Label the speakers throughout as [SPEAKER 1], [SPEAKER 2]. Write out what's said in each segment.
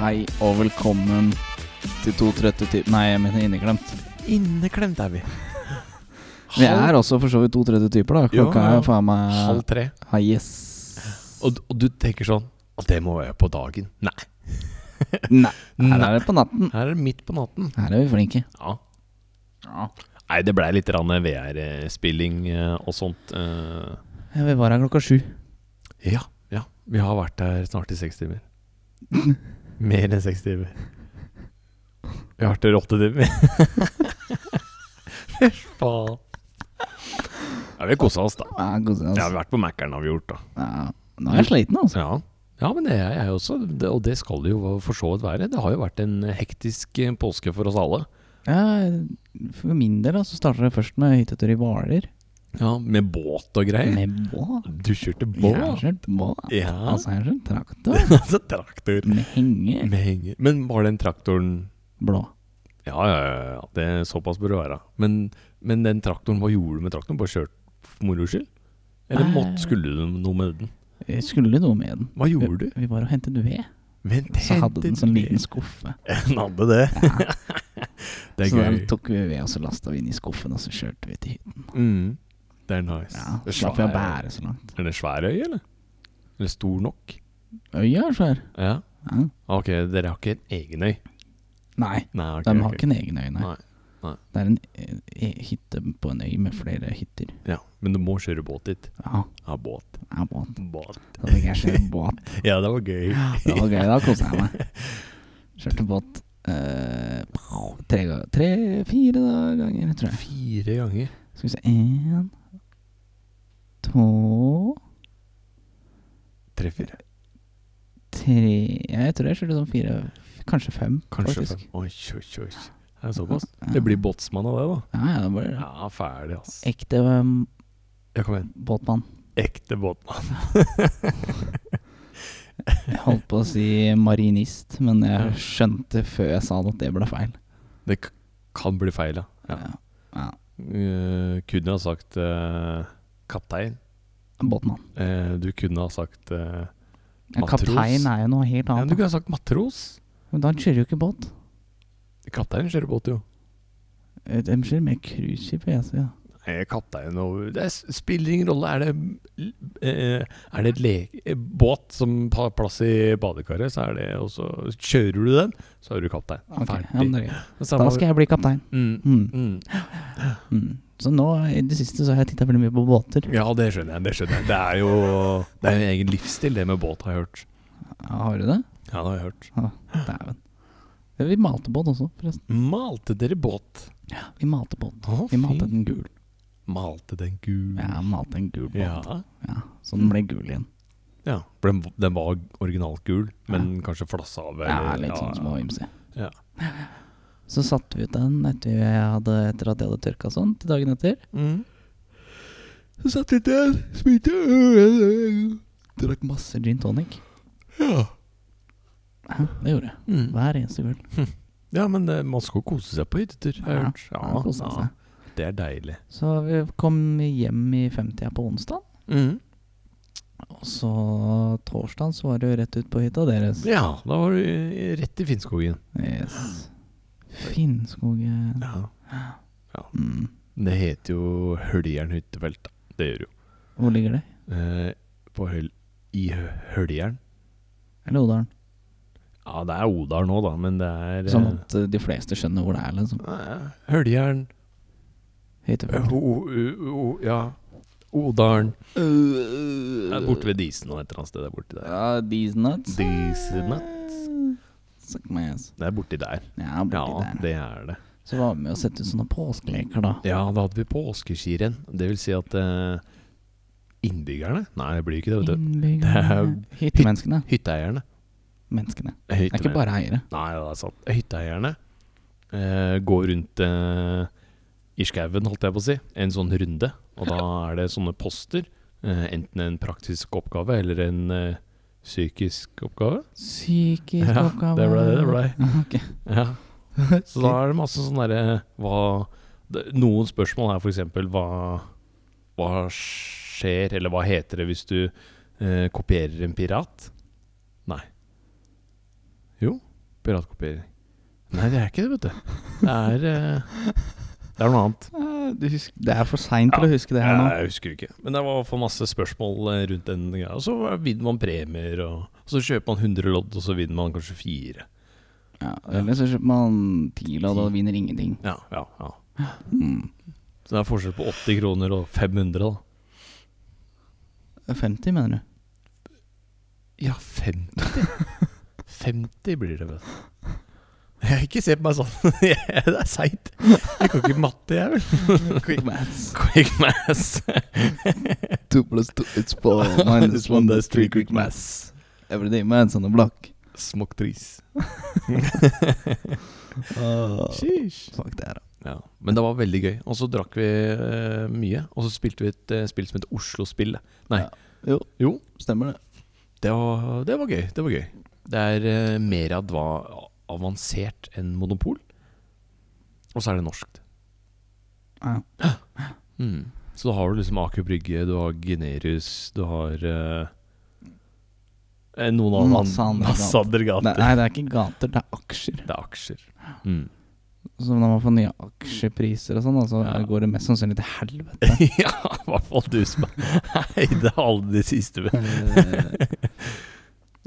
[SPEAKER 1] Hei og velkommen til to trøtte typer Nei, jeg mener inneklemt.
[SPEAKER 2] Inneklemt er vi.
[SPEAKER 1] Vi er også for så vidt to trøtte typer, da.
[SPEAKER 2] Jo,
[SPEAKER 1] Klokka
[SPEAKER 2] ja.
[SPEAKER 1] er faen meg
[SPEAKER 2] halv tre.
[SPEAKER 1] Hei, yes.
[SPEAKER 2] Og, og du tenker sånn Å, det må jeg på dagen. Nei.
[SPEAKER 1] Nei, her
[SPEAKER 2] Nei.
[SPEAKER 1] er det på natten.
[SPEAKER 2] Her er det midt på natten.
[SPEAKER 1] Her er vi flinke.
[SPEAKER 2] Ja.
[SPEAKER 1] Ja.
[SPEAKER 2] Nei, det blei litt VR-spilling og sånt. eh.
[SPEAKER 1] Vi var her klokka sju.
[SPEAKER 2] Ja, ja. Vi har vært her snart i seks timer. Mer enn seks timer. Vi har vært her i åtte timer. Fy faen. Ja, vi har kosa oss, da.
[SPEAKER 1] Ja, god
[SPEAKER 2] Ja, vi
[SPEAKER 1] ja,
[SPEAKER 2] har vært på Mækkern, har vi gjort, da.
[SPEAKER 1] Nå er jeg sliten, altså.
[SPEAKER 2] Ja. ja, men det er jeg også, det, og det skal det jo for så vidt være. Det har jo vært en hektisk eh, påske for oss alle.
[SPEAKER 1] Ja, for min del da, så starter det først med hyttetur i Hvaler.
[SPEAKER 2] Ja, Med båt og greier.
[SPEAKER 1] Med båt.
[SPEAKER 2] Du kjørte
[SPEAKER 1] Jeg har
[SPEAKER 2] båt?
[SPEAKER 1] kjørt båt.
[SPEAKER 2] Ja,
[SPEAKER 1] Altså, jeg har kjørt traktor.
[SPEAKER 2] altså traktor.
[SPEAKER 1] Med henger.
[SPEAKER 2] Med henger. Men var den traktoren
[SPEAKER 1] Blå.
[SPEAKER 2] Ja, ja, ja, ja. Det, såpass bør det være. Men, men den traktoren, hva gjorde du med traktoren? Bare kjørt for moro skyld? Eller
[SPEAKER 1] Nei.
[SPEAKER 2] måtte, skulle du noe med den?
[SPEAKER 1] Jeg skulle noe med den.
[SPEAKER 2] Hva gjorde du?
[SPEAKER 1] Vi var og hentet ved.
[SPEAKER 2] Men
[SPEAKER 1] Så hadde den sånn liten
[SPEAKER 2] skuffe.
[SPEAKER 1] skuffe.
[SPEAKER 2] Den hadde det. det er
[SPEAKER 1] så
[SPEAKER 2] gøy.
[SPEAKER 1] den tok vi ved, og så lasta vi inn i skuffen, og så kjørte vi til hytta.
[SPEAKER 2] Mm. Det er nice.
[SPEAKER 1] Ja,
[SPEAKER 2] Det er
[SPEAKER 1] slapp vi å
[SPEAKER 2] svær-
[SPEAKER 1] bære så langt.
[SPEAKER 2] Er det svær øy, eller? Eller stor nok?
[SPEAKER 1] Øya er svær.
[SPEAKER 2] Ja.
[SPEAKER 1] Ja.
[SPEAKER 2] Ok, dere har ikke en egen øy?
[SPEAKER 1] Nei,
[SPEAKER 2] Nei, ok,
[SPEAKER 1] de har
[SPEAKER 2] ok.
[SPEAKER 1] ikke en egen øy, nei.
[SPEAKER 2] Nei, nei.
[SPEAKER 1] Det er en eh, eh, hytte på en øy med flere hytter.
[SPEAKER 2] Ja, men du må kjøre båt dit.
[SPEAKER 1] Ja,
[SPEAKER 2] Ja, båt.
[SPEAKER 1] det er båt.
[SPEAKER 2] Båt.
[SPEAKER 1] Da fikk jeg kjøre båt.
[SPEAKER 2] Ja, det var gøy.
[SPEAKER 1] Det var gøy, da kosa jeg meg. Kjørte båt eh, tre, ga- tre, fire da- ganger, tror jeg.
[SPEAKER 2] Fire ganger.
[SPEAKER 1] Skal vi se Én, to,
[SPEAKER 2] Tre-fire.
[SPEAKER 1] tre Ja, jeg tror jeg kjørte sånn fire, kanskje fem,
[SPEAKER 2] Kanskje
[SPEAKER 1] faktisk.
[SPEAKER 2] fem. Oi, oi, oi. Det er såpass. Det blir båtsmann av det, da.
[SPEAKER 1] Ja, ja, det blir det.
[SPEAKER 2] Ja, ferdig, ass.
[SPEAKER 1] Ekte um,
[SPEAKER 2] Ja, kom igjen.
[SPEAKER 1] båtmann.
[SPEAKER 2] Ekte båtmann.
[SPEAKER 1] Jeg holdt på å si marinist, men jeg skjønte før jeg sa det at det ble feil.
[SPEAKER 2] Det k- kan bli feil, ja. ja.
[SPEAKER 1] Ja. Ja.
[SPEAKER 2] Eh, kunne ha sagt eh, kaptein.
[SPEAKER 1] Båtmann.
[SPEAKER 2] Eh, du kunne ha sagt eh,
[SPEAKER 1] Ja,
[SPEAKER 2] Matros.
[SPEAKER 1] kaptein er jo noe helt
[SPEAKER 2] ja, Du
[SPEAKER 1] annet.
[SPEAKER 2] kunne ha sagt matros.
[SPEAKER 1] Men da kjører jo ikke båt.
[SPEAKER 2] Kaptein kjører båt, jo.
[SPEAKER 1] Eh, De kjører med cruiseskip. jeg sier, ja.
[SPEAKER 2] Eh, Kaptein og Det s- spiller ingen rolle. Er det, eh, er det et le- eh, båt som har plass i badekaret, så er det og så Kjører du den, så er du kaptein.
[SPEAKER 1] Ok,
[SPEAKER 2] Ferdig.
[SPEAKER 1] ja, men det er greit.
[SPEAKER 2] Det samme-
[SPEAKER 1] Da skal jeg bli kaptein.
[SPEAKER 2] mm,
[SPEAKER 1] Mm.
[SPEAKER 2] mm.
[SPEAKER 1] Mm. Så nå i det siste så har jeg titta veldig mye på båter.
[SPEAKER 2] Ja, det skjønner jeg. Det skjønner jeg Det er jo Det er jo en egen livsstil, det med båt, har jeg hørt.
[SPEAKER 1] Ja, Har du det?
[SPEAKER 2] Ja, det har jeg hørt.
[SPEAKER 1] Dæven. Ja, Vi malte båt også, forresten.
[SPEAKER 2] Malte dere båt?
[SPEAKER 1] Vi malte båt.
[SPEAKER 2] Å,
[SPEAKER 1] Vi malte
[SPEAKER 2] fint.
[SPEAKER 1] den gul.
[SPEAKER 2] Malte den gul.
[SPEAKER 1] Ja, malte en gul båt. Ja.
[SPEAKER 2] Ja.
[SPEAKER 1] så den ble gul igjen.
[SPEAKER 2] Ja, for den, den var originalt gul, men kanskje flassa av.
[SPEAKER 1] Ja,
[SPEAKER 2] eller-
[SPEAKER 1] litt sånn små ymse.
[SPEAKER 2] Ja.
[SPEAKER 1] Så satte vi ut den etter, jeg hadde, etter at jeg hadde tørka sånn til dagen etter.
[SPEAKER 2] Mm. Så satt jeg der, smilte øh, øh,
[SPEAKER 1] Drakk masse gin tonic.
[SPEAKER 2] øh. ja.
[SPEAKER 1] Ja, det gjorde jeg.
[SPEAKER 2] Mm.
[SPEAKER 1] Hver eneste kveld.
[SPEAKER 2] ja, men eh, man skal kose seg på hyttetur, har jeg
[SPEAKER 1] Ja,
[SPEAKER 2] hørt.
[SPEAKER 1] Ja, koset
[SPEAKER 2] ja,
[SPEAKER 1] seg.
[SPEAKER 2] det er deilig.
[SPEAKER 1] Så vi kom hjem i femtida på onsdag.
[SPEAKER 2] Mm.
[SPEAKER 1] Og så torsdag så var det jo rett ut på hytta deres.
[SPEAKER 2] Ja, da var du eh, rett i Finnskogen.
[SPEAKER 1] Yes. Finnskogen
[SPEAKER 2] Ja.
[SPEAKER 1] mm.
[SPEAKER 2] Det heter jo Høljern hyttefelt, da. Det gjør det jo.
[SPEAKER 1] Hvor ligger det?
[SPEAKER 2] Eh, på høl I hø- Høljern.
[SPEAKER 1] Eller Odalen?
[SPEAKER 2] Ja, det er Odal nå, da, men det er eh,
[SPEAKER 1] Sånn at eh, de fleste skjønner hvor det er, liksom.
[SPEAKER 2] eh, Høljern Eh,
[SPEAKER 1] Høytefjell.
[SPEAKER 2] o, o, o, ja. Odalen. Det er borte ved Disen og et eller annet sted der borti der.
[SPEAKER 1] Ja, these nuts.
[SPEAKER 2] These nuts.
[SPEAKER 1] Suck my ass.
[SPEAKER 2] Det er borti der.
[SPEAKER 1] Ja, borti
[SPEAKER 2] Ja,
[SPEAKER 1] der.
[SPEAKER 2] det er det.
[SPEAKER 1] Så var vi med og sette ut sånne påskeleker, da.
[SPEAKER 2] Ja, da hadde vi påskeskirenn. Det vil si at eh, innbyggerne Nei, det blir ikke det, vet du.
[SPEAKER 1] Innbyggerne Hyttemenneskene.
[SPEAKER 2] Hytteeierne.
[SPEAKER 1] Menneskene. Det er
[SPEAKER 2] Hytte-
[SPEAKER 1] ikke bare eiere.
[SPEAKER 2] Nei, det er sant. Hytteeierne eh, går rundt eh, i skauen, holdt jeg på å si, en sånn runde. Og da er det sånne poster. Eh, enten en praktisk oppgave eller en eh, Psykisk oppgave?
[SPEAKER 1] Psykisk
[SPEAKER 2] Ja,
[SPEAKER 1] oppgave
[SPEAKER 2] det ble det det ble.
[SPEAKER 1] Ok.
[SPEAKER 2] Ja. Så da er det masse sånn derre hva det- Noen spørsmål er f.eks. Hva, hva skjer, eller hva heter det hvis du eh, kopierer en pirat? Nei. Jo, piratkopiering. Nei, det er ikke det, vet du. Det er, eh, det er noe annet.
[SPEAKER 1] Eh, du husk- Det er for seint til
[SPEAKER 2] Ja.
[SPEAKER 1] å huske det her nå.
[SPEAKER 2] Nei, Jeg husker ikke. Men det var i hvert fall masse spørsmål eh, rundt den greia. Og så vinner man premier, og, og så kjøper man 100 lodd, og så vinner man kanskje fire.
[SPEAKER 1] Ja, eller så kjøper man Tila og vinner ingenting.
[SPEAKER 2] Ja, ja, ja.
[SPEAKER 1] Mm.
[SPEAKER 2] Så det er forskjell på 80 kroner og 500, da.
[SPEAKER 1] 50, mener du?
[SPEAKER 2] Ja, 50. 50 blir det, vet du. Jeg ikke se på meg sånn. det er seigt. Jeg kan ikke matte, jeg, vel.
[SPEAKER 1] Quick maths.
[SPEAKER 2] Quick mass.
[SPEAKER 1] Two plus two is four. Minus one, that's three quick maths. Every day man's on the block.
[SPEAKER 2] Smoktris.
[SPEAKER 1] Uh,
[SPEAKER 2] Sheesh.
[SPEAKER 1] fuck det her, da.
[SPEAKER 2] Ja, Men det var veldig gøy. Og så drakk vi eh, mye. Og så spilte vi et eh, spill som het Oslo-spill. Nei.
[SPEAKER 1] Ja. Jo.
[SPEAKER 2] Jo,
[SPEAKER 1] Stemmer det.
[SPEAKER 2] det var, det var gøy. Det var gøy. Det er eh, mer av det var avansert enn Monopol. Og så er det norskt.
[SPEAKER 1] Ja.
[SPEAKER 2] Mm. Så da har du liksom Aker Brygge, du har Generius, du har eh, eh, noen av
[SPEAKER 1] Masse andre
[SPEAKER 2] masse andre
[SPEAKER 1] Nei,
[SPEAKER 2] gater.
[SPEAKER 1] nei, det er ikke gater, det er aksjer.
[SPEAKER 2] Det er aksjer. Mm.
[SPEAKER 1] Så når man får nye aksjepriser og sånn, da, så
[SPEAKER 2] Ja.
[SPEAKER 1] går det mest sannsynlig til helvete.
[SPEAKER 2] ja, i hvert fall du som eide alle de siste. Å,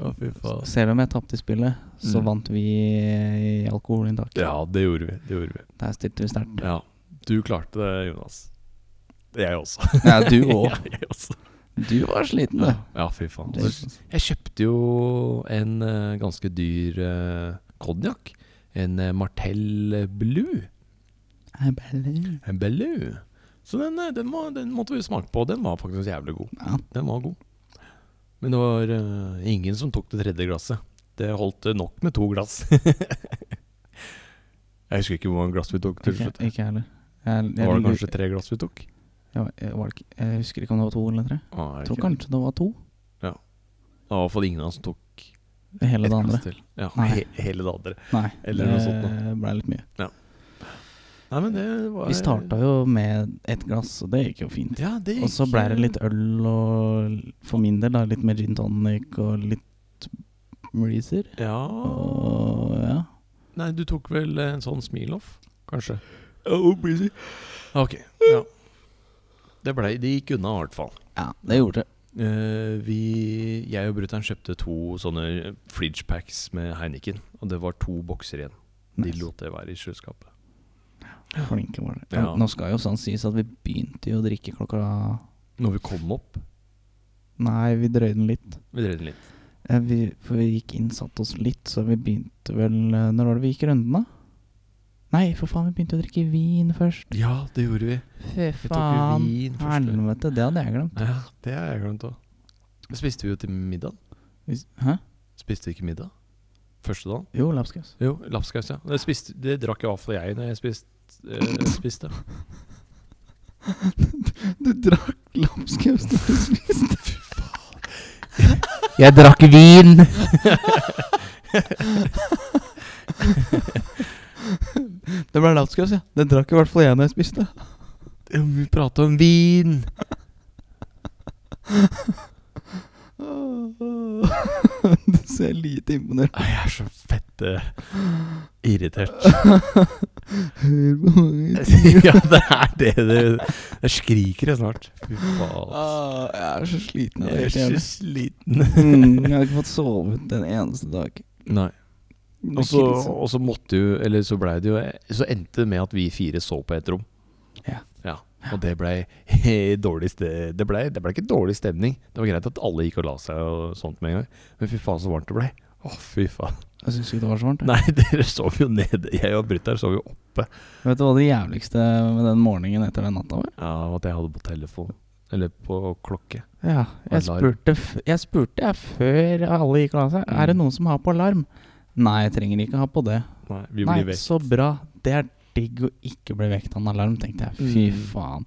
[SPEAKER 1] Eh,
[SPEAKER 2] fy faen.
[SPEAKER 1] Selv om jeg tapte i spillet, så
[SPEAKER 2] Mm.
[SPEAKER 1] vant vi i alkoholinntak.
[SPEAKER 2] Ja, det gjorde vi. Det gjorde vi.
[SPEAKER 1] Der stilte vi sterkt.
[SPEAKER 2] Ja, du klarte det, Jonas. Jeg også.
[SPEAKER 1] Ja, du òg.
[SPEAKER 2] Ja, jeg også.
[SPEAKER 1] Du var sliten, du.
[SPEAKER 2] Ja, ja, fy faen. Altså, Jeg kjøpte jo en eh, ganske dyr uh, konjakk. En eh, Martell Blue.
[SPEAKER 1] Jeg bare-
[SPEAKER 2] En Blue. Så den, eh, den, må, den måtte vi smake på. Den var faktisk jævlig god.
[SPEAKER 1] Ja.
[SPEAKER 2] Den var god. Men det var eh, ingen som tok det tredje glasset. Det holdt eh, nok med to glass. jeg husker ikke hvor mange glass vi tok til
[SPEAKER 1] Ikke,
[SPEAKER 2] slutt.
[SPEAKER 1] ikke jeg heller. Jeg, jeg,
[SPEAKER 2] Var det
[SPEAKER 1] ligger-
[SPEAKER 2] kanskje tre glass vi tok?
[SPEAKER 1] jeg, jeg, var ikke, jeg husker ikke om det var to eller tre.
[SPEAKER 2] Ah,
[SPEAKER 1] Jeg tror kanskje det var to.
[SPEAKER 2] Det var i hvert fall ingen av oss som tok
[SPEAKER 1] Det hele
[SPEAKER 2] et
[SPEAKER 1] det andre.
[SPEAKER 2] glass til. Ja,
[SPEAKER 1] Nei.
[SPEAKER 2] he hele det andre.
[SPEAKER 1] Nei,
[SPEAKER 2] Eller noe sånt
[SPEAKER 1] det ble litt mye.
[SPEAKER 2] Nei, men det var
[SPEAKER 1] Vi starta jo med ett glass, og det gikk jo fint.
[SPEAKER 2] Ja, det
[SPEAKER 1] Og så ble det litt øl og for min del da, litt med gin tonic og litt Reezer.
[SPEAKER 2] Ja
[SPEAKER 1] Og ja.
[SPEAKER 2] Nei, du tok vel en sånn Smiloff, kanskje?
[SPEAKER 1] Oh, breezy.
[SPEAKER 2] Ok. Ja. Det, ble, det gikk unna, i hvert fall.
[SPEAKER 1] Ja, det gjorde det.
[SPEAKER 2] Eh, vi, jeg og brutter'n kjøpte to sånne fridge packs med Heineken. Og det var to bokser igjen. De
[SPEAKER 1] Nice.
[SPEAKER 2] lot det være i kjøleskapet.
[SPEAKER 1] Flinke var det.
[SPEAKER 2] Ja.
[SPEAKER 1] Nå skal jo sånn sies at vi begynte jo å drikke klokka
[SPEAKER 2] Når vi kom opp
[SPEAKER 1] Nei, vi drøyde den litt.
[SPEAKER 2] Vi drev den litt.
[SPEAKER 1] Eh, Vi, for vi gikk inn, satt oss litt, så vi begynte vel eh, Når var det vi gikk runden, da? Nei, for faen, vi begynte å drikke vin først.
[SPEAKER 2] Ja, det gjorde vi.
[SPEAKER 1] Fy
[SPEAKER 2] Vi tok jo
[SPEAKER 1] faen.
[SPEAKER 2] vin først. vi.
[SPEAKER 1] Helvete, det hadde jeg glemt.
[SPEAKER 2] Ja, det har jeg glemt òg. Spiste vi jo til middag?
[SPEAKER 1] Hvis- Hæ?
[SPEAKER 2] Spiste vi ikke middag? Første dagen?
[SPEAKER 1] Jo, lapskaus.
[SPEAKER 2] Jo, lapskaus, ja. Det, spiste, det drakk i hvert fall jeg når jeg spist, eh, spiste.
[SPEAKER 1] Du drakk lapskaus da du spiste?
[SPEAKER 2] Jeg drakk vin!
[SPEAKER 1] Det ble lapskaus, ja. Det drakk i hvert fall jeg når jeg spiste.
[SPEAKER 2] Vi prata om vin!
[SPEAKER 1] Du ser lite imponert
[SPEAKER 2] Nei, Jeg er så fett eh, irritert.
[SPEAKER 1] Hør på mange
[SPEAKER 2] ja, det er det det Jeg skriker jeg snart. Fy faen. ass.
[SPEAKER 1] ah, Jeg er så sliten.
[SPEAKER 2] Jeg er så sliten.
[SPEAKER 1] Mm, jeg har ikke fått sovet en eneste dag.
[SPEAKER 2] Nei.
[SPEAKER 1] Det
[SPEAKER 2] Og så,
[SPEAKER 1] krise.
[SPEAKER 2] og så måtte jo Eller så blei det jo Så endte det med at vi fire så på et rom.
[SPEAKER 1] Ja.
[SPEAKER 2] Og det blei dårlig ste- Det blei det ble ikke dårlig stemning. Det var greit at alle gikk og la seg og sånt med en gang. Men fy faen så varmt det blei. Å, fy faen.
[SPEAKER 1] Jeg syns ikke det var så varmt. jeg.
[SPEAKER 2] Nei, dere sov jo nede. Jeg og brutter'n sov jo opp.
[SPEAKER 1] Vet du hva det jævligste med den morgenen etter den natta var?
[SPEAKER 2] Ja, og at jeg hadde på telefon. Eller på klokke.
[SPEAKER 1] Ja, jeg
[SPEAKER 2] Alarm.
[SPEAKER 1] spurte, f jeg spurte jeg før alle gikk og la seg. Er det
[SPEAKER 2] Mm.
[SPEAKER 1] noen som har på alarm? Nei, jeg trenger ikke ha på det.
[SPEAKER 2] Nei, vi
[SPEAKER 1] Nei,
[SPEAKER 2] blir vekk.
[SPEAKER 1] så bra. Det er digg å ikke bli vekt av en alarm, tenkte jeg. Fy
[SPEAKER 2] Mm.
[SPEAKER 1] faen.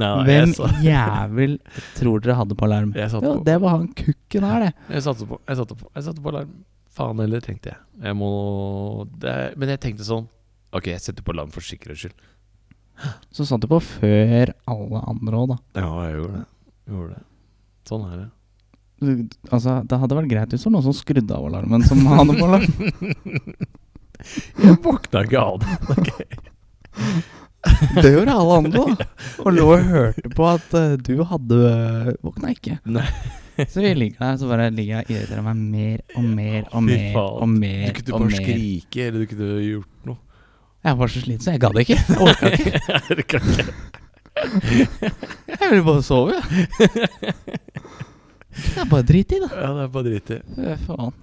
[SPEAKER 2] Nei, jeg,
[SPEAKER 1] Hvem
[SPEAKER 2] sa,
[SPEAKER 1] jævel tror dere hadde på alarm?
[SPEAKER 2] jeg, satte
[SPEAKER 1] Jo,
[SPEAKER 2] på,
[SPEAKER 1] det var han kukken her, det.
[SPEAKER 2] jeg, satte på, jeg satte på Jeg satte på alarm. Faen heller, tenkte jeg. jeg må, det er, men jeg tenkte sånn Ok, jeg setter på alarm for sikkerhets skyld.
[SPEAKER 1] Så satt du på før alle andre òg, da.
[SPEAKER 2] Ja, jeg gjorde det. Jeg gjorde det. Sånn er det.
[SPEAKER 1] Du- Altså, det hadde vært greit hvis det var noen som skrudde av alarmen som hadde på alarm.
[SPEAKER 2] Jeg våkna ikke av det.
[SPEAKER 1] Det gjorde alle andre, da. Og lå og hørte på at eh, du hadde våkna ikke.
[SPEAKER 2] Nei.
[SPEAKER 1] Så vi ligger der, så bare ligger jeg og irriterer meg mer og mer og
[SPEAKER 2] Fy
[SPEAKER 1] mer
[SPEAKER 2] faen.
[SPEAKER 1] og mer.
[SPEAKER 2] Du kunne
[SPEAKER 1] Eh, og
[SPEAKER 2] bare
[SPEAKER 1] mer.
[SPEAKER 2] skrike, eller du kunne gjort noe.
[SPEAKER 1] Jeg var så sliten, så jeg gadd ikke. Jeg orka ikke.
[SPEAKER 2] Jeg orka ikke.
[SPEAKER 1] Jeg ville bare sove, jeg. Det er bare drit i, da.
[SPEAKER 2] Ja, det er bare drit i.
[SPEAKER 1] Fy Faen.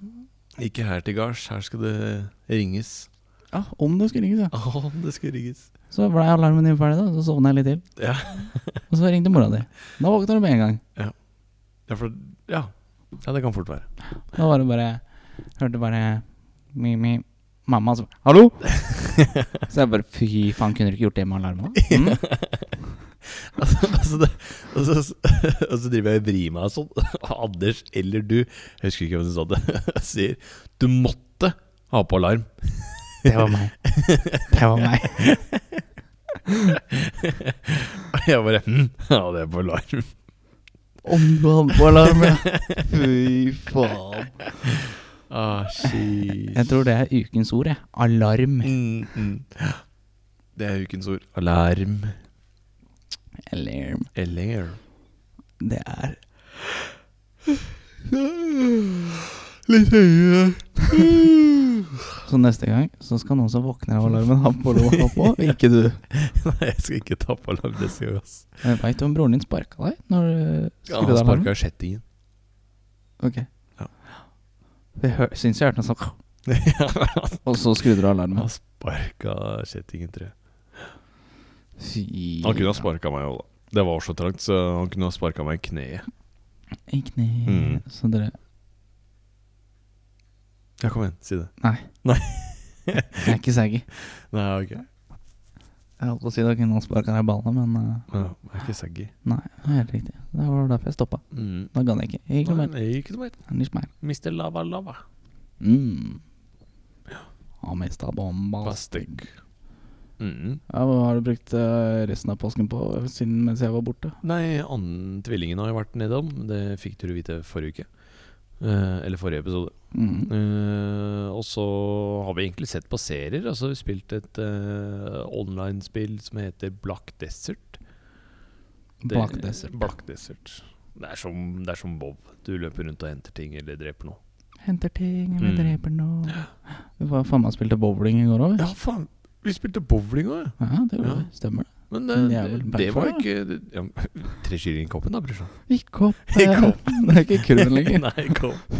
[SPEAKER 2] Ikke her til gards. Her skal det ringes.
[SPEAKER 1] Ja, om det skulle ringes, ja.
[SPEAKER 2] Å, det skal ringes.
[SPEAKER 1] Så ble alarmen din ferdig, da. Så sovna jeg litt til.
[SPEAKER 2] Ja.
[SPEAKER 1] Og så ringte mora di. Da våkna du med en gang.
[SPEAKER 2] Ja, for, ja. ja, det kan fort være.
[SPEAKER 1] Da var det bare Hørte bare mi, mi, Mamma som Hallo! Så jeg bare Fy faen, kunne du ikke gjort det med alarmen? da? Mm.
[SPEAKER 2] altså, det, og, så, og så driver jeg og vrir meg og sånn. Og Anders eller du, jeg husker ikke hvem som sa det, sier du måtte ha på alarm.
[SPEAKER 1] Det var meg. Det var meg.
[SPEAKER 2] Og jeg bare hm, ja, det er på alarm.
[SPEAKER 1] Om du hadde på alarm, ja. Fy faen.
[SPEAKER 2] Ah,
[SPEAKER 1] Jeg tror det er ukens ord, jeg. Alarm.
[SPEAKER 2] Mm, mm. Det er ukens ord. Alarm.
[SPEAKER 1] Alarm.
[SPEAKER 2] Eller
[SPEAKER 1] Det er
[SPEAKER 2] Litt høyere.
[SPEAKER 1] Så neste gang så skal noen som våkner av alarmen, ha på lov å ha på, ikke du.
[SPEAKER 2] Nei, jeg skal ikke ta på alarm neste gang. ass.
[SPEAKER 1] Men veit du om broren din sparka deg når du
[SPEAKER 2] Ja,
[SPEAKER 1] skrudde
[SPEAKER 2] han
[SPEAKER 1] av alarmen?
[SPEAKER 2] sparka kjettingen.
[SPEAKER 1] Ok.
[SPEAKER 2] Ja.
[SPEAKER 1] Jeg hør- syns jeg hørte noe sånn
[SPEAKER 2] han
[SPEAKER 1] Og så skrudde du av alarmen.
[SPEAKER 2] sparka kjettingen, tror jeg.
[SPEAKER 1] Fy
[SPEAKER 2] Han kunne ha sparka meg òg, da. Det var så trangt, så han kunne ha sparka meg i kneet.
[SPEAKER 1] I kne
[SPEAKER 2] Mm.
[SPEAKER 1] Så dere
[SPEAKER 2] Ja, kom igjen, si det.
[SPEAKER 1] Jeg er ikke saggy.
[SPEAKER 2] Nei, ok.
[SPEAKER 1] Jeg holdt på å si da kunne han sparka deg i ballene, men eh,
[SPEAKER 2] Ja, jeg er ikke saggy.
[SPEAKER 1] nei. Det er helt riktig. Det var derfor jeg stoppa.
[SPEAKER 2] Mm.
[SPEAKER 1] Da gadd jeg ikke. Jeg gikk og meldte.
[SPEAKER 2] Nei, ikke noe mer.
[SPEAKER 1] Anders Meyer.
[SPEAKER 2] Mr. Lava Lava.
[SPEAKER 1] Mm. Har mista bomba.
[SPEAKER 2] Bastøgg. Mm.
[SPEAKER 1] Ja, hva har du brukt eh, resten av påsken på siden mens jeg var borte?
[SPEAKER 2] Nei, annen tvillingen har jeg vært nedom. Det fikk dere vite forrige uke. Eh, eller forrige episode.
[SPEAKER 1] Mm.
[SPEAKER 2] Eh, og så har vi egentlig sett på serier. Altså, vi har spilt et eh, online-spill som heter Black Desert. Det-
[SPEAKER 1] Bak dessert.
[SPEAKER 2] Black Desert. Det er som, det er som Bob. Du løper rundt og henter ting eller dreper noe.
[SPEAKER 1] Henter ting, vi
[SPEAKER 2] Mm.
[SPEAKER 1] dreper noe. Vi var faen meg og spilte bowling i går òg.
[SPEAKER 2] Ja, faen. Vi spilte bowling òg, ja.
[SPEAKER 1] Ja, det
[SPEAKER 2] Ja.
[SPEAKER 1] gjorde vi. Stemmer det.
[SPEAKER 2] Men
[SPEAKER 1] Men
[SPEAKER 2] det,
[SPEAKER 1] det er vel
[SPEAKER 2] det, det var
[SPEAKER 1] backfire,
[SPEAKER 2] ikke det, ja, Tre skyer i koppen, da, brorsan.
[SPEAKER 1] Gikk opp.
[SPEAKER 2] I
[SPEAKER 1] eh,
[SPEAKER 2] koppen.
[SPEAKER 1] Det er ikke kurven lenger.
[SPEAKER 2] Nei, kopp.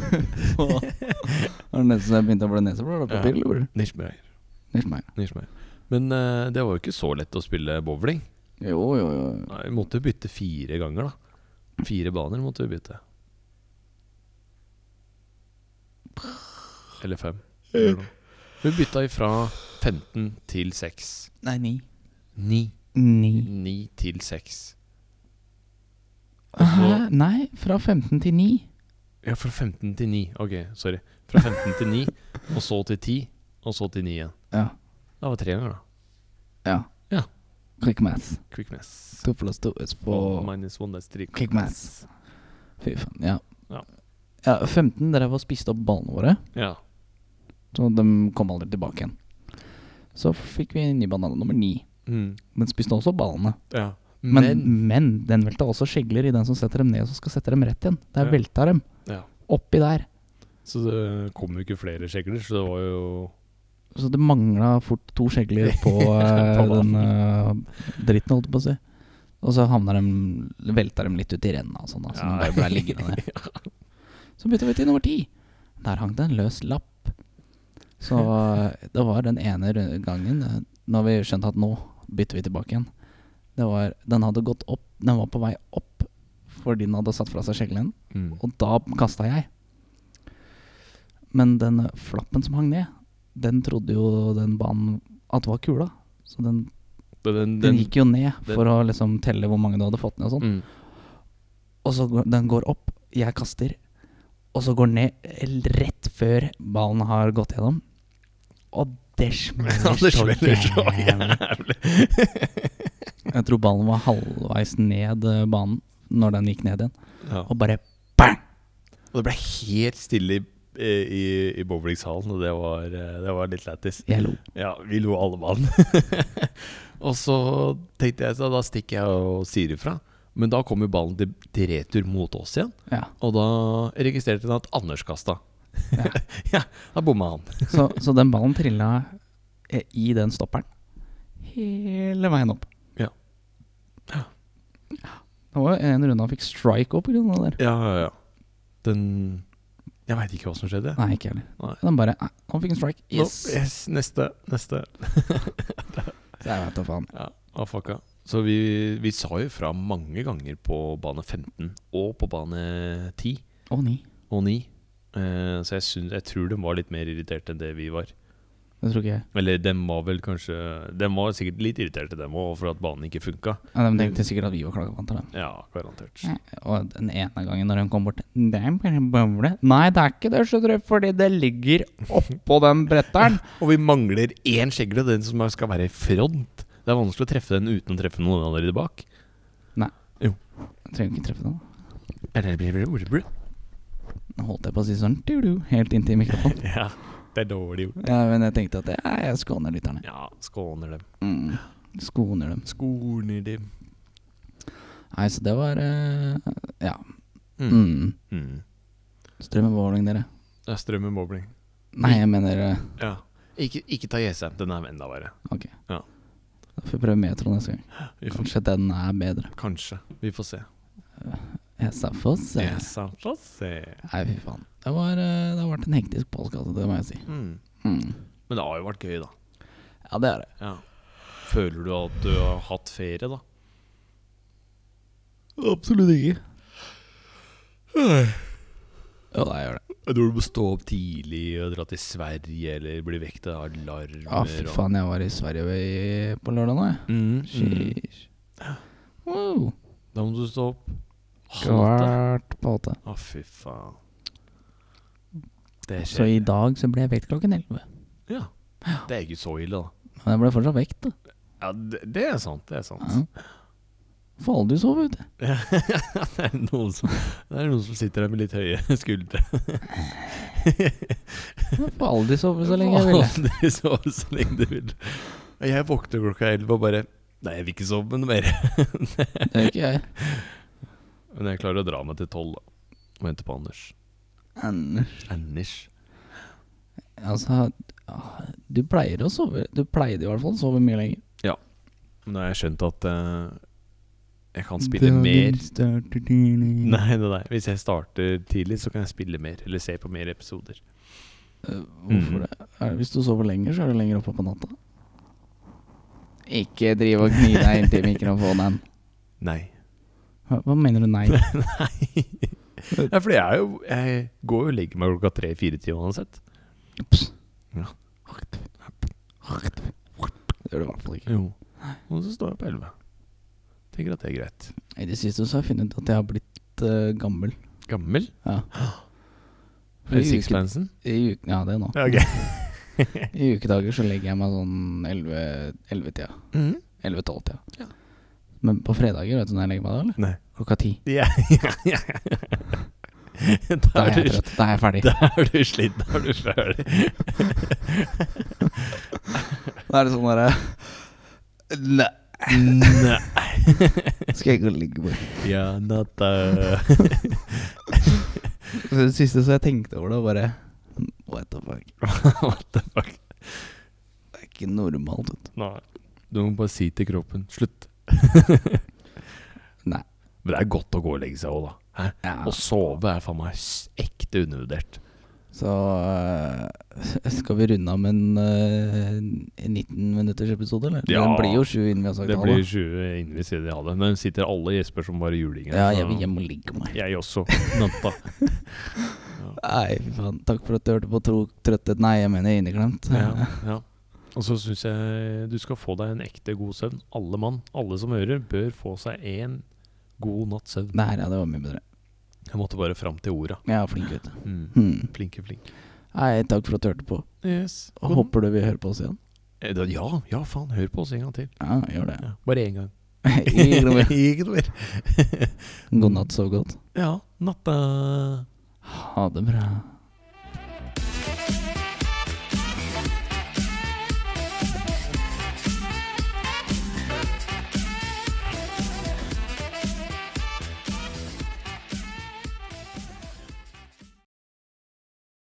[SPEAKER 1] Åh. Det var nesten så jeg begynte å bli neseblod.
[SPEAKER 2] Ja. Nisjmeier. Nisjmeier. Men eh, det var jo ikke så lett å spille bowling.
[SPEAKER 1] Jo, jo, jo.
[SPEAKER 2] Nei, vi måtte jo bytte fire ganger, da. Fire baner måtte vi bytte. Eller fem. Eller noe. Vi bytta ifra 15 til 6.
[SPEAKER 1] Nei, ni.
[SPEAKER 2] 9.
[SPEAKER 1] Ni.
[SPEAKER 2] 9 til 6.
[SPEAKER 1] Hæ? Nei, fra 15 til 9.
[SPEAKER 2] Ja, fra 15 til 9. Ok, sorry. Fra 15 til 9, og så til 10, og så til 9 igjen.
[SPEAKER 1] Ja.
[SPEAKER 2] Det var tre ganger, da.
[SPEAKER 1] Ja.
[SPEAKER 2] Ja.
[SPEAKER 1] Quick maths.
[SPEAKER 2] Quick mess.
[SPEAKER 1] To pluss to is
[SPEAKER 2] Og eh,
[SPEAKER 1] på
[SPEAKER 2] minus one, that's three.
[SPEAKER 1] Quick maths. Fy faen, ja.
[SPEAKER 2] Ja.
[SPEAKER 1] ja 15 drev og spiste opp ballene våre,
[SPEAKER 2] Ja.
[SPEAKER 1] så de kom aldri tilbake igjen. Så fikk vi en ny banan nummer 9.
[SPEAKER 2] Mm.
[SPEAKER 1] Den spiste også ballene.
[SPEAKER 2] ja.
[SPEAKER 1] Men,
[SPEAKER 2] Men,
[SPEAKER 1] men. den velta også skjegler i den som setter dem ned, og som skal sette dem rett igjen. Der
[SPEAKER 2] Ja.
[SPEAKER 1] velta dem.
[SPEAKER 2] Ja.
[SPEAKER 1] Oppi der.
[SPEAKER 2] Så det kom jo ikke flere skjegler, så det var jo
[SPEAKER 1] Så det mangla fort to skjegler på, eh,
[SPEAKER 2] På banen.
[SPEAKER 1] den eh, dritten, holdt jeg på å si. Og så havna de Velta dem litt ut i renna og sånn, da. Så
[SPEAKER 2] Ja.
[SPEAKER 1] de bare ble liggende der. Så bytta vi til nummer ti. Der hang det en løs lapp. Så eh, det var den ene ru- gangen eh, Når vi skjønte at nå bytter vi tilbake igjen. Det var, den hadde gått opp Den var på vei opp fordi den hadde satt fra seg skjeglen.
[SPEAKER 2] mm.
[SPEAKER 1] Og da kasta jeg. Men den flappen som hang ned, den trodde jo den banen at var kula. Så den
[SPEAKER 2] Den, den,
[SPEAKER 1] Den gikk jo ned
[SPEAKER 2] den-
[SPEAKER 1] for å liksom telle hvor mange du hadde fått ned og sånn.
[SPEAKER 2] mm.
[SPEAKER 1] Og så går, den går opp, jeg kaster, og så går den ned rett før ballen har gått gjennom. Og det
[SPEAKER 2] Ja,
[SPEAKER 1] smeller
[SPEAKER 2] det
[SPEAKER 1] så
[SPEAKER 2] smeller så
[SPEAKER 1] jævlig. Jeg tror ballen var halvveis ned eh, banen når den gikk ned igjen.
[SPEAKER 2] Ja.
[SPEAKER 1] Og bare bang!
[SPEAKER 2] Og det ble helt stille i, i, i bowlingshallen, og det var, eh, det var litt lættis.
[SPEAKER 1] Jeg lo.
[SPEAKER 2] Ja, vi lo alle mann. og så tenkte jeg så da stikker jeg og sier ifra. Men da kom jo ballen til, til retur mot oss igjen,
[SPEAKER 1] Ja.
[SPEAKER 2] og da registrerte den at Anders kasta.
[SPEAKER 1] Ja.
[SPEAKER 2] Ja. da bomma han.
[SPEAKER 1] Så, så den ballen trilla eh, i den stopperen hele veien opp.
[SPEAKER 2] Ja. Ja.
[SPEAKER 1] Det var jo en runde han fikk strike òg pga. det der.
[SPEAKER 2] Ja, ja, ja. Den Jeg veit ikke hva som skjedde.
[SPEAKER 1] Nei, ikke heller.
[SPEAKER 2] Nei.
[SPEAKER 1] Den bare eh, Han fikk en strike.
[SPEAKER 2] Nå,
[SPEAKER 1] Yes!
[SPEAKER 2] yes, neste, neste.
[SPEAKER 1] Så jeg vet da faen.
[SPEAKER 2] Ja, ah, fucka. Så vi, vi sa jo fra mange ganger på bane 15 og på bane 10
[SPEAKER 1] Å, ni.
[SPEAKER 2] og 9. Eh, så jeg, syns- jeg tror de var litt mer irriterte enn det vi var.
[SPEAKER 1] Det tror ikke jeg.
[SPEAKER 2] Eller dem var vel kanskje De var sikkert litt irriterte, dem òg, for at banen ikke funka.
[SPEAKER 1] Ja, de tenkte sikkert at vi var klagvanter, da.
[SPEAKER 2] Ja, garantert.
[SPEAKER 1] Ja, Og den ene gangen når hun kom bort Det er bare en bøvle. Nei, det er ikke det, skjønner du, fordi det ligger oppå den bretteren.
[SPEAKER 2] Og vi mangler én skjegle, den som er- skal være i front. Det er vanskelig å treffe den uten å treffe noen andre bak.
[SPEAKER 1] Jeg trenger ikke treffe den.
[SPEAKER 2] Ja,
[SPEAKER 1] Nå holdt jeg på å si sånn du-du, helt inntil mikrofonen.
[SPEAKER 2] det er dårlig gjort.
[SPEAKER 1] Ja, men jeg tenkte at ja, jeg skåner lytterne.
[SPEAKER 2] Ja, skåner dem.
[SPEAKER 1] Mm. Skoner dem.
[SPEAKER 2] Skåner dem.
[SPEAKER 1] Nei, så det var eh, Ja.
[SPEAKER 2] Mm.
[SPEAKER 1] Mm.
[SPEAKER 2] Mm.
[SPEAKER 1] Strømmen bowling, dere.
[SPEAKER 2] Det er strømmen bowling.
[SPEAKER 1] Nei, jeg mener eh,
[SPEAKER 2] Ja. Ikke, ikke ta Jessheim, den er enda verre.
[SPEAKER 1] Ok.
[SPEAKER 2] Ja.
[SPEAKER 1] Da får vi prøve metro neste gang.
[SPEAKER 2] Vi får,
[SPEAKER 1] Kanskje den er bedre.
[SPEAKER 2] kanskje. Vi får se.
[SPEAKER 1] Jeg sa få se.
[SPEAKER 2] Jessheim, får se.
[SPEAKER 1] eh. Nei, fy faen. Det, var, eh, det har vært en hektisk postkasse, det må jeg si.
[SPEAKER 2] Mm.
[SPEAKER 1] Mm.
[SPEAKER 2] Men det har jo vært gøy, da.
[SPEAKER 1] Ja, det er det.
[SPEAKER 2] Ja. Føler du at du har hatt ferie, da?
[SPEAKER 1] Absolutt ikke. Jo, da gjør det.
[SPEAKER 2] Jeg tror du må stå opp tidlig og dra til Sverige, eller bli vekket av alarmer.
[SPEAKER 1] Ja, Ah, fy
[SPEAKER 2] og-
[SPEAKER 1] faen, jeg var i Sverige i- på lørdag nå, jeg.
[SPEAKER 2] Mm, mm.
[SPEAKER 1] Sheesh. Wow.
[SPEAKER 2] Da må du stå opp halv åtte.
[SPEAKER 1] Kvart på åtte.
[SPEAKER 2] Å, fy faen. Det
[SPEAKER 1] Så
[SPEAKER 2] skjer.
[SPEAKER 1] i dag så ble jeg vekt klokken elleve.
[SPEAKER 2] Ja. Det er ikke så ille, da.
[SPEAKER 1] Men jeg ble fortsatt vekt, da.
[SPEAKER 2] Ja, det, det er sant. Det er sant.
[SPEAKER 1] Ja. Faen, du sov ute.
[SPEAKER 2] Ja, det, er noen som, det er noen som sitter der med litt høye skuldre.
[SPEAKER 1] Jeg får aldri sove så lenge jeg ville.
[SPEAKER 2] Aldri sove så lenge du vil. Og jeg våkner klokka elleve og bare Nei, jeg vil ikke sove noe mer.
[SPEAKER 1] Det gjør ikke jeg.
[SPEAKER 2] Men jeg klarer å dra meg til tolv da, og vente på Anders.
[SPEAKER 1] Anders.
[SPEAKER 2] Anders?
[SPEAKER 1] Altså, ah, du pleier å sove Du pleide i hvert fall å sove mye lenger.
[SPEAKER 2] Nå har jeg skjønt at eh, jeg kan spille mer.
[SPEAKER 1] Nei.
[SPEAKER 2] Nei, nei, nei. Hvis jeg starter tidlig, så kan jeg spille mer. Eller se på mer episoder.
[SPEAKER 1] Eh, Hvorfor det? Er, hvis du sover lenger, så er du lenger oppe på natta. Ikke driv og gni deg inntil mikrofonen.
[SPEAKER 2] Nei.
[SPEAKER 1] Hva, hva mener du nei?
[SPEAKER 2] nei. Ja, fordi jeg, er jo, jeg går jo og legger meg klokka tre-fire-tida uansett.
[SPEAKER 1] Pss.
[SPEAKER 2] Ja.
[SPEAKER 1] Det gjør du i hvert fall ikke.
[SPEAKER 2] Jo. Og så står jeg på 11. Tenker at det er greit.
[SPEAKER 1] I det siste så har jeg funnet ut at jeg har blitt eh, gammel.
[SPEAKER 2] Gammel?
[SPEAKER 1] Ja.
[SPEAKER 2] Er det
[SPEAKER 1] I uke-
[SPEAKER 2] Sixpansen?
[SPEAKER 1] I uke, ja, det er nå. I ukedager så legger jeg meg sånn 11-tida.
[SPEAKER 2] Mhm.
[SPEAKER 1] 11-12-tida.
[SPEAKER 2] Ja.
[SPEAKER 1] Men på fredager, vet du når jeg legger meg da? eller?
[SPEAKER 2] Nei.
[SPEAKER 1] Klokka ti.
[SPEAKER 2] Ja, ja, ja. Da
[SPEAKER 1] Da
[SPEAKER 2] er
[SPEAKER 1] er jeg
[SPEAKER 2] du,
[SPEAKER 1] trøtt. Da er jeg ferdig.
[SPEAKER 2] da er du sliten, da er du ferdig.
[SPEAKER 1] Da er det sånn derre Nei,
[SPEAKER 2] Nei.
[SPEAKER 1] skal jeg ikke ligge på
[SPEAKER 2] Ja, natta.
[SPEAKER 1] Så Det siste så jeg tenkte over det, og bare What the fuck.
[SPEAKER 2] What the fuck?
[SPEAKER 1] Det er ikke normalt. Vet.
[SPEAKER 2] Nei. Du må bare si til kroppen slutt.
[SPEAKER 1] Nei.
[SPEAKER 2] Men det er godt å gå og legge seg òg, da. Hæ?
[SPEAKER 1] du. Ja.
[SPEAKER 2] Å sove er faen meg s- ekte undervurdert.
[SPEAKER 1] Så øh, skal vi runde av med en øh, 19 minutters episode, eller?
[SPEAKER 2] Ja.
[SPEAKER 1] Den blir jo sju innen vi har sagt
[SPEAKER 2] Det
[SPEAKER 1] ha
[SPEAKER 2] blir 20 innen vi sier de har det. Men sitter alle Jesper som bare julinger.
[SPEAKER 1] Ja,
[SPEAKER 2] så-
[SPEAKER 1] jeg vil hjem og ligge meg.
[SPEAKER 2] Jeg også. Natta.
[SPEAKER 1] Nei, fy faen. Takk for at du hørte på Tro trøttet. Nei, jeg mener inneklemt.
[SPEAKER 2] Ja, ja. Og så syns jeg eh, du skal få deg en ekte god søvn. Alle mann, alle som hører, bør få seg en god natts søvn.
[SPEAKER 1] Nei, ja, det var mye bedre.
[SPEAKER 2] Jeg måtte bare fram til orda.
[SPEAKER 1] Jeg er flink gutt.
[SPEAKER 2] Mm.
[SPEAKER 1] Hmm.
[SPEAKER 2] Flinke, flinke.
[SPEAKER 1] Nei, takk for at du hørte på.
[SPEAKER 2] Yes.
[SPEAKER 1] Og håper du vil høre på oss igjen.
[SPEAKER 2] Eh, da- Ja, ja, faen. Hør på oss en gang til.
[SPEAKER 1] Ja, gjør det.
[SPEAKER 2] Ja. Bare én gang.
[SPEAKER 1] Ikke noe mer.
[SPEAKER 2] Ikke noe mer.
[SPEAKER 1] God natt, sov godt.
[SPEAKER 2] Ja. Natta.
[SPEAKER 1] Ha det bra.